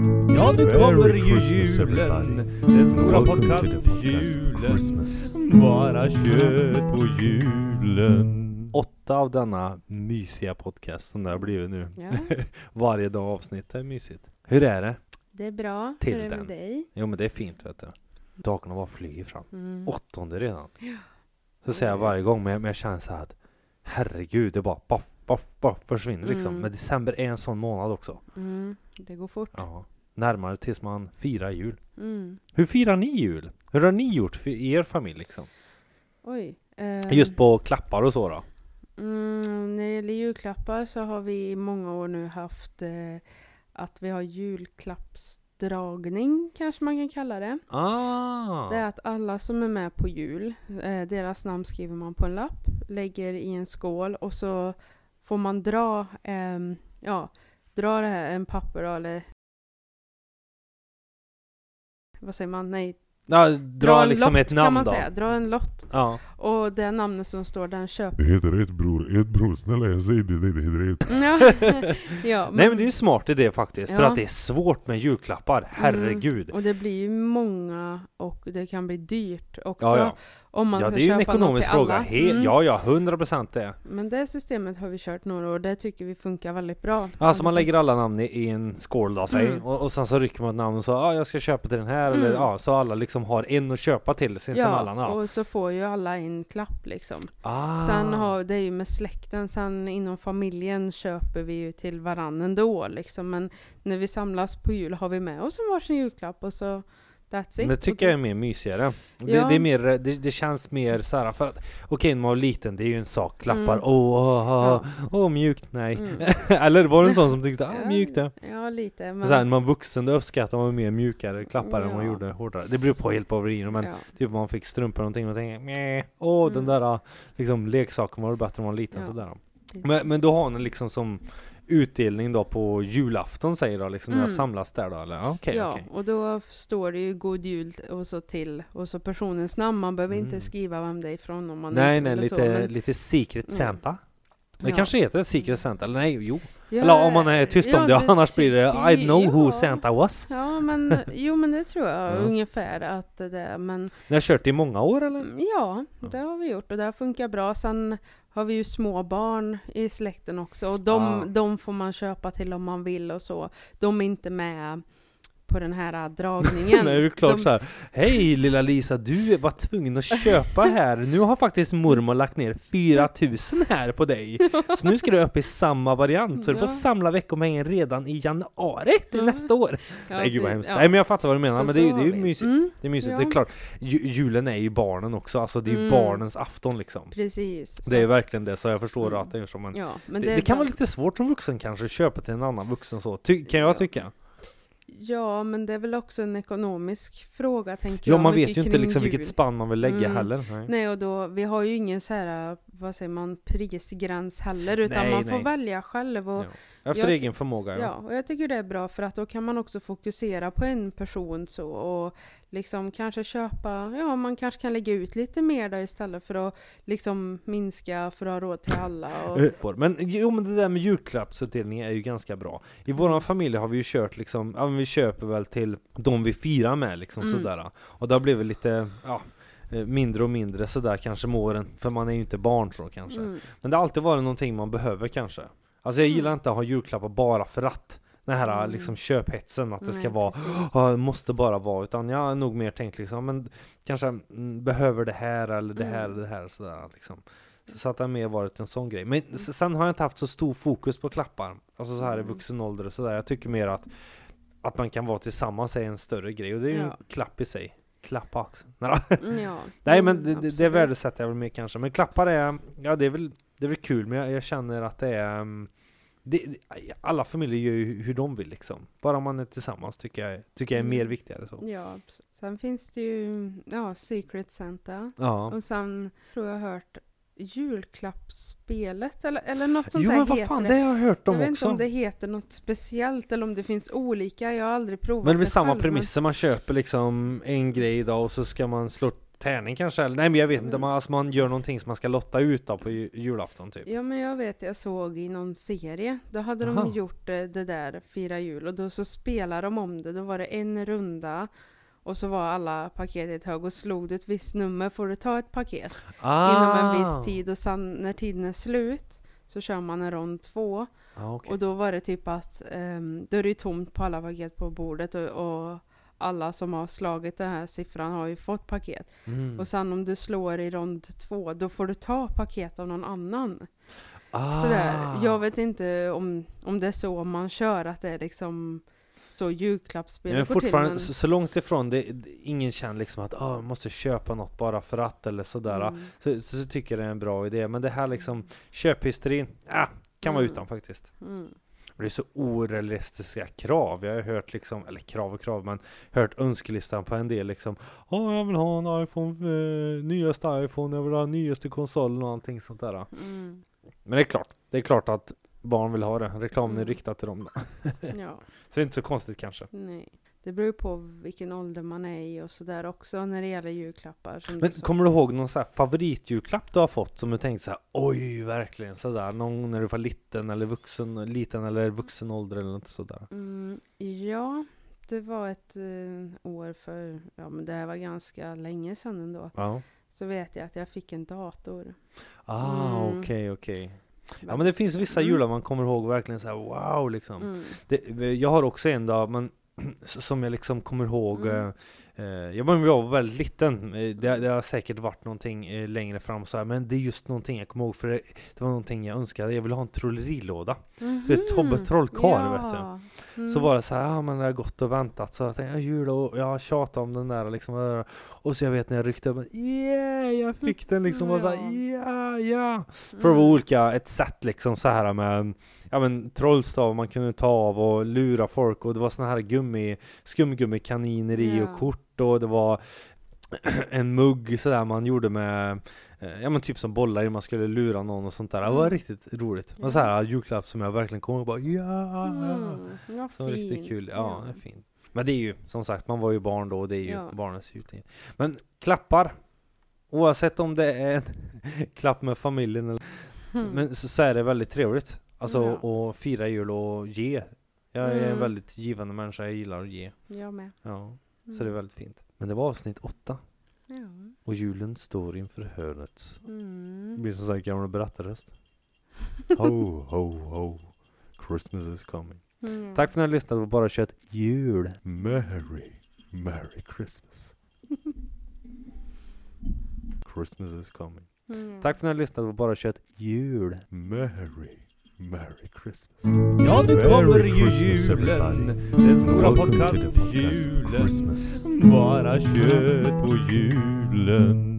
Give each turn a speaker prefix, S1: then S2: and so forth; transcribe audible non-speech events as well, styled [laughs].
S1: Ja, nu
S2: Merry
S1: kommer ju
S2: Christmas,
S1: julen.
S2: everybody.
S1: Den stora
S2: Welcome to the podcast,
S1: podcast-julen.
S2: Christmas.
S1: Bara kött på julen. Åtta av denna mysiga podcast som det har blivit nu.
S3: Ja,
S1: [laughs] Varje dag avsnitt är mysigt. Hur är det?
S3: det är bra.
S1: Till
S3: Hur är det
S1: den.
S3: med dig?
S1: Jo men det är fint vet du. Dagarna bara flyger fram.
S3: Mm.
S1: Åttonde redan. Så säger jag varje gång men jag, men jag känner så här att herregud det bara poff, poff, poff försvinner liksom.
S3: Mm.
S1: Men december är en sån månad också.
S3: Mm. Det går fort.
S1: Ja. Närmare tills man firar jul.
S3: Mm.
S1: Hur firar ni jul? Hur har ni gjort för i er familj liksom?
S3: Oj. Eh,
S1: Just på klappar och så då?
S3: mm, när det gäller julklappar så har vi i många år nu haft eh, att vi har julklappsdragning, kanske man kan kalla det.
S1: Ah!
S3: Det är att alla som är med på jul, eh, deras namn skriver man på en lapp, lägger i en skål och så får man dra, ehm, ja, dra det här, en papper då, eller vad säger man? Nej,
S1: Ja, dra,
S3: en
S1: liksom
S3: lott,
S1: ett namn
S3: kan man
S1: då?
S3: säga. Dra en lott. [laughs]
S1: Ja.
S3: Och det namnet som står den
S1: [laughs]
S3: köper.
S2: Det heter ett bror, ett bror, snälla jag säger det, det heter ett.
S3: Ja, ja
S1: Nej men det är ju en smart idé faktiskt, för
S3: Ja. Mm.
S1: att det är svårt med julklappar, herregud!
S3: Och det blir ju många och det kan bli dyrt också.
S1: ja, ja.
S3: Om man
S1: ja,
S3: ska
S1: det är ju en
S3: köpa något
S1: ekonomisk
S3: till
S1: fråga,
S3: alla.
S1: He-
S3: Mm.
S1: ja ja, 100% procent det!
S3: Men det systemet har vi kört några år och det tycker vi funkar väldigt bra.
S1: Alltså man lägger alla namn i, i en skål då, säg,
S3: Mm.
S1: och, och sen så rycker man ett namn och så ja, ah, jag ska köpa till den här,
S3: Mm.
S1: eller ja, så alla liksom har en att köpa till sinsemellan.
S3: Ja,
S1: Ja,
S3: och så får ju alla en klapp liksom.
S1: ah.
S3: Sen har, det är ju med släkten, sen inom familjen köper vi ju till varann ändå liksom. Men när vi samlas på jul har vi med oss en varsin julklapp och så that's it.
S1: Men det
S3: Och
S1: tycker jag är mer mysigare. Det,
S3: Ja.
S1: det, är mer, det, det känns mer så här för att okej när man var liten, det är ju en sak, klappar,
S3: Mm.
S1: åh, åh, åh,
S3: Ja.
S1: åh, mjukt, nej.
S3: Mm.
S1: [laughs] Eller var det en sån som tyckte, ah,
S3: Ja,
S1: mjukt det.
S3: Ja, lite. Men,
S1: Men sen när man var vuxen då uppskattade man mer mjukare klappar än man
S3: Ja.
S1: gjorde hårdare. Det beror på helt på vad det är, men
S3: ja.
S1: typ man fick strumpor och någonting och tänkte, "Mjäh, åh den
S3: Mm.
S1: där ah, liksom leksaken var det bättre när man var liten
S3: Ja.
S1: sådär. Men, men då har ni liksom som utdelning då på julafton säger du liksom, när
S3: Mm.
S1: samlas där då eller? Ah, Okej,
S3: ja,
S1: okej.
S3: och då står det ju God Jul och så till och så personens namn. Man behöver
S1: Mm.
S3: inte skriva vem det är ifrån om man
S1: Nej,
S3: inte
S1: nej,
S3: vill
S1: lite,
S3: och så. men-
S1: lite Secret
S3: Mm.
S1: Santa. Det
S3: Ja.
S1: kanske heter Secret Santa, eller nej, jo.
S3: Ja,
S1: Eller om man är tyst
S3: ja,
S1: om det, annars blir det
S3: tycker
S1: I know who
S3: jag.
S1: Santa was.
S3: Ja, men jo, men det tror jag
S1: Ja.
S3: ungefär att det är. Men
S1: Ni har kört i många år [laughs]
S3: Mm,
S1: eller?
S3: ja, det har vi gjort och det har funkat bra. Sen har vi ju små barn i släkten också och de,
S1: Ah.
S3: de får man köpa till om man vill och så. De är inte med på den här äh,
S1: [laughs]
S3: dragningen.
S1: Nej, det är klart
S3: de,
S1: så här. Hej lilla Lisa, du var tvungen att
S3: [laughs]
S1: köpa här. Nu har faktiskt mormor lagt ner 4000 här på dig. Så nu ska du upp i samma variant, så du får
S3: Ja.
S1: samla veckopengen redan i januari till nästa år.
S3: Ja,
S1: Nej gud vad
S3: det-
S1: hemskt.
S3: ja.
S1: Nej men jag fattar vad du menar,
S3: Så-
S1: men det är ju,
S3: så
S1: det är ju
S3: har vi.
S1: mysigt.
S3: Mm.
S1: Det är mysigt,
S3: Ja.
S1: det är klart. Ju, julen är ju barnen också, alltså det är ju
S3: Mm.
S1: barnens afton liksom.
S3: Precis.
S1: Det är ju verkligen det, så jag förstår
S3: Mm.
S1: att det är så. Men
S3: Ja, men
S1: det,
S3: det,
S1: det kan vara lite svårt som vuxen kanske, att köpa till en annan vuxen så, ty, kan jag
S3: Ja.
S1: tycka.
S3: Ja, men det är väl också en ekonomisk fråga tänker
S1: Ja,
S3: jag.
S1: man
S3: mycket
S1: vet ju inte
S3: kring
S1: liksom vilket
S3: jul.
S1: spann man vill lägga
S3: Mm.
S1: heller. Nej.
S3: Nej, och då, vi har ju ingen så här, vad säger man, prisgräns heller, utan
S1: Nej,
S3: man
S1: nej.
S3: får välja själv. Och,
S1: Ja. Efter
S3: Jag ty-
S1: egen förmåga
S3: ja.
S1: ja.
S3: och jag tycker det är bra för att då kan man också fokusera på en person så och liksom kanske köpa, ja man kanske kan lägga ut lite mer då istället för att liksom minska för att ha råd till alla. Och,
S1: Eh, får. Men jo men det där med julklappsutdelning är ju ganska bra. I våran familj har vi ju kört liksom, ja men vi köper väl till de vi firar med liksom
S3: Mm.
S1: sådär. Och där blir vi lite, ja, eh, mindre och mindre sådär kanske med åren. För man är ju inte barn så kanske.
S3: mm,
S1: Men det har alltid varit någonting man behöver kanske. Alltså jag gillar inte att ha julklappar bara för att. Den här
S3: Mm.
S1: liksom köphetsen att det ska
S3: nej,
S1: vara
S3: precis.
S1: Ja, det måste bara vara, utan jag har nog mer tänkt liksom, men kanske mm, behöver det här eller det här
S3: Mm.
S1: eller det här sådär liksom. Så, så att det har mer varit en sån grej. Men s- sen har jag inte haft så stor fokus på klappar, alltså så här i
S3: Mm.
S1: vuxen ålder och sådär. Jag tycker mer att, att man kan vara tillsammans är en större grej, och det är ju
S3: Ja.
S1: en klapp i sig. Klappa också. Nej, då.
S3: Mm, ja.
S1: Nej men
S3: Mm,
S1: det, det, det
S3: absolut.
S1: värdesätter jag väl mer kanske. Men klappar är, ja det är väl, det är väl kul, men jag, jag känner att det är mm, det, det- alla familjer gör ju hur de vill liksom. Bara man är tillsammans tycker jag, tycker jag är mer
S3: Mm.
S1: viktigare. Så.
S3: Ja, abs- sen finns det ju, ja, Secret Santa.
S1: Ja.
S3: Och sen tror jag hört julklappsspelet eller, eller något sånt
S1: Jo
S3: där
S1: men vad
S3: heter
S1: fan, det har jag hört
S3: Jag
S1: om
S3: vet inte
S1: också.
S3: om det heter något speciellt eller om det finns olika, jag har aldrig provat
S1: Men det är väl
S3: det
S1: samma
S3: själv, men-
S1: premisser, man köper liksom en grej idag och så ska man slå Tärning kanske? Eller? Nej men jag vet inte,
S3: Mm.
S1: man, alltså man gör någonting som man ska lotta ut då på ju- julafton typ.
S3: Ja men jag vet, jag såg i någon serie, då hade
S1: Aha.
S3: de gjort eh, det där Fira Jul och då så spelade de om det, då var det en runda och så var alla paket i ett hög och slog du ett visst nummer får du ta ett paket inom en
S1: Ah.
S3: viss tid och sen när tiden är slut så kör man en rond två
S1: Ah, okej.
S3: och då var det typ att ehm, då är det ju tomt på alla paket på bordet och, och alla som har slagit den här siffran har ju fått paket.
S1: Mm.
S3: Och sen om du slår i rond två då får du ta paket av någon annan.
S1: Ah.
S3: Sådär. Jag vet inte om, om det är så man kör, att det är liksom så
S1: Jag är
S3: julklappsspelet går till.
S1: fortfarande
S3: Men,
S1: så, så långt ifrån, det, det- ingen känner liksom att ah, jag måste köpa något bara för att eller sådär.
S3: Mm.
S1: Så, så, så tycker jag det är en bra idé. Men det här liksom köphysterin, ah, kan vara
S3: Mm.
S1: utan faktiskt.
S3: Mm.
S1: Och Det är så orealistiska krav. Jag har hört liksom, eller krav och krav, men hört önskelistan på en del liksom. Ja, jag vill ha en iPhone, eh, nyaste iPhone, jag vill ha nyaste konsolen och allting sånt där. [laughs]
S3: Mm.
S1: Men det är klart, det är klart att barn vill ha det. Reklamen är
S3: Mm.
S1: riktad till dem då.
S3: Ja,
S1: Så det är inte så konstigt kanske.
S3: nej. Det beror ju på vilken ålder man är i och sådär också när det gäller julklappar. Som
S1: Men
S3: du sa.
S1: kommer du ihåg någon så här favoritjulklapp du har fått som du tänkte så här, oj verkligen sådär, någon gång när du var liten eller vuxen, liten eller vuxen ålder eller något sådär?
S3: Mm, ja, det var ett eh, år för, ja men det här var ganska länge sedan ändå.
S1: Ja.
S3: Så vet jag att jag fick en dator.
S1: Ah,
S3: Mm.
S1: okej, okej. Ja men det finns vissa
S3: Mm.
S1: jular man kommer ihåg verkligen så här, wow liksom.
S3: Mm.
S1: Det, jag har också en dag, men [clears throat] s- som jag liksom kommer ihåg.
S3: Mm.
S1: eh, eh, jag var jag var väldigt liten. eh, Det, det har säkert varit någonting eh, längre fram så här, men det är just någonting jag kommer ihåg för det, det var någonting jag önskade. Jag ville ha en trollerilåda. Du vet Tobbe Trollkarl vet du.
S3: Mhm. Mm.
S1: Så var det så här, ah, men det har gått och väntat så jag tänkte, jag jul och jag har tjatat om den där liksom. eh, Och så jag vet när jag ryckte upp den, yeah, jag fick den liksom. Och så här, yeah, yeah. För det
S3: Mm.
S1: var olika, ett sätt liksom så här med Ja men trollstav man kunde ta av och lura folk och det var såna här gummi Skumgummikaniner i
S3: Ja.
S1: och kort och det var En mugg sådär man gjorde med eh, Ja men typ som bollar i, man skulle lura någon och sånt där Det var
S3: Mm.
S1: riktigt roligt
S3: Ja.
S1: Men så här julklapp som jag verkligen kommer ihåg bara ja!
S3: Mm, vad
S1: Så riktigt
S3: fint.
S1: kul, ja, det är fint Men det är ju som sagt, man var ju barn då och det är ju
S3: Ja.
S1: barnens jultid Men klappar Oavsett om det är en [laughs] klapp med familjen eller
S3: Mm.
S1: men så, så är det väldigt trevligt. Alltså att fira jul och ge. Jag är en
S3: Mm.
S1: väldigt givande människa, jag gillar att ge.
S3: Jag med.
S1: Ja, så det är
S3: Mm.
S1: väldigt fint. Men det var avsnitt åtta.
S3: Ja.
S1: Och julen står inför hörnet. Det
S3: Mm.
S1: blir som sagt gamla
S3: [laughs]
S1: berättarröst. Ho, ho, ho. Christmas is coming.
S3: Mm.
S1: Tack för att ni har lyssnat på Bara Kött Jul.
S2: Merry, Merry Christmas.
S1: Christmas is coming.
S3: Mm.
S1: Tack för att ni har lyssnat på Bara Kött Jul.
S2: Merry, Merry Christmas.
S1: Ja, nu
S2: Merry
S1: kommer ju
S2: Christmas,
S1: julen.
S2: everybody.
S1: Den stora
S2: Welcome to the podcast
S1: podcast-julen.
S2: Christmas.
S1: Bara kött på julen.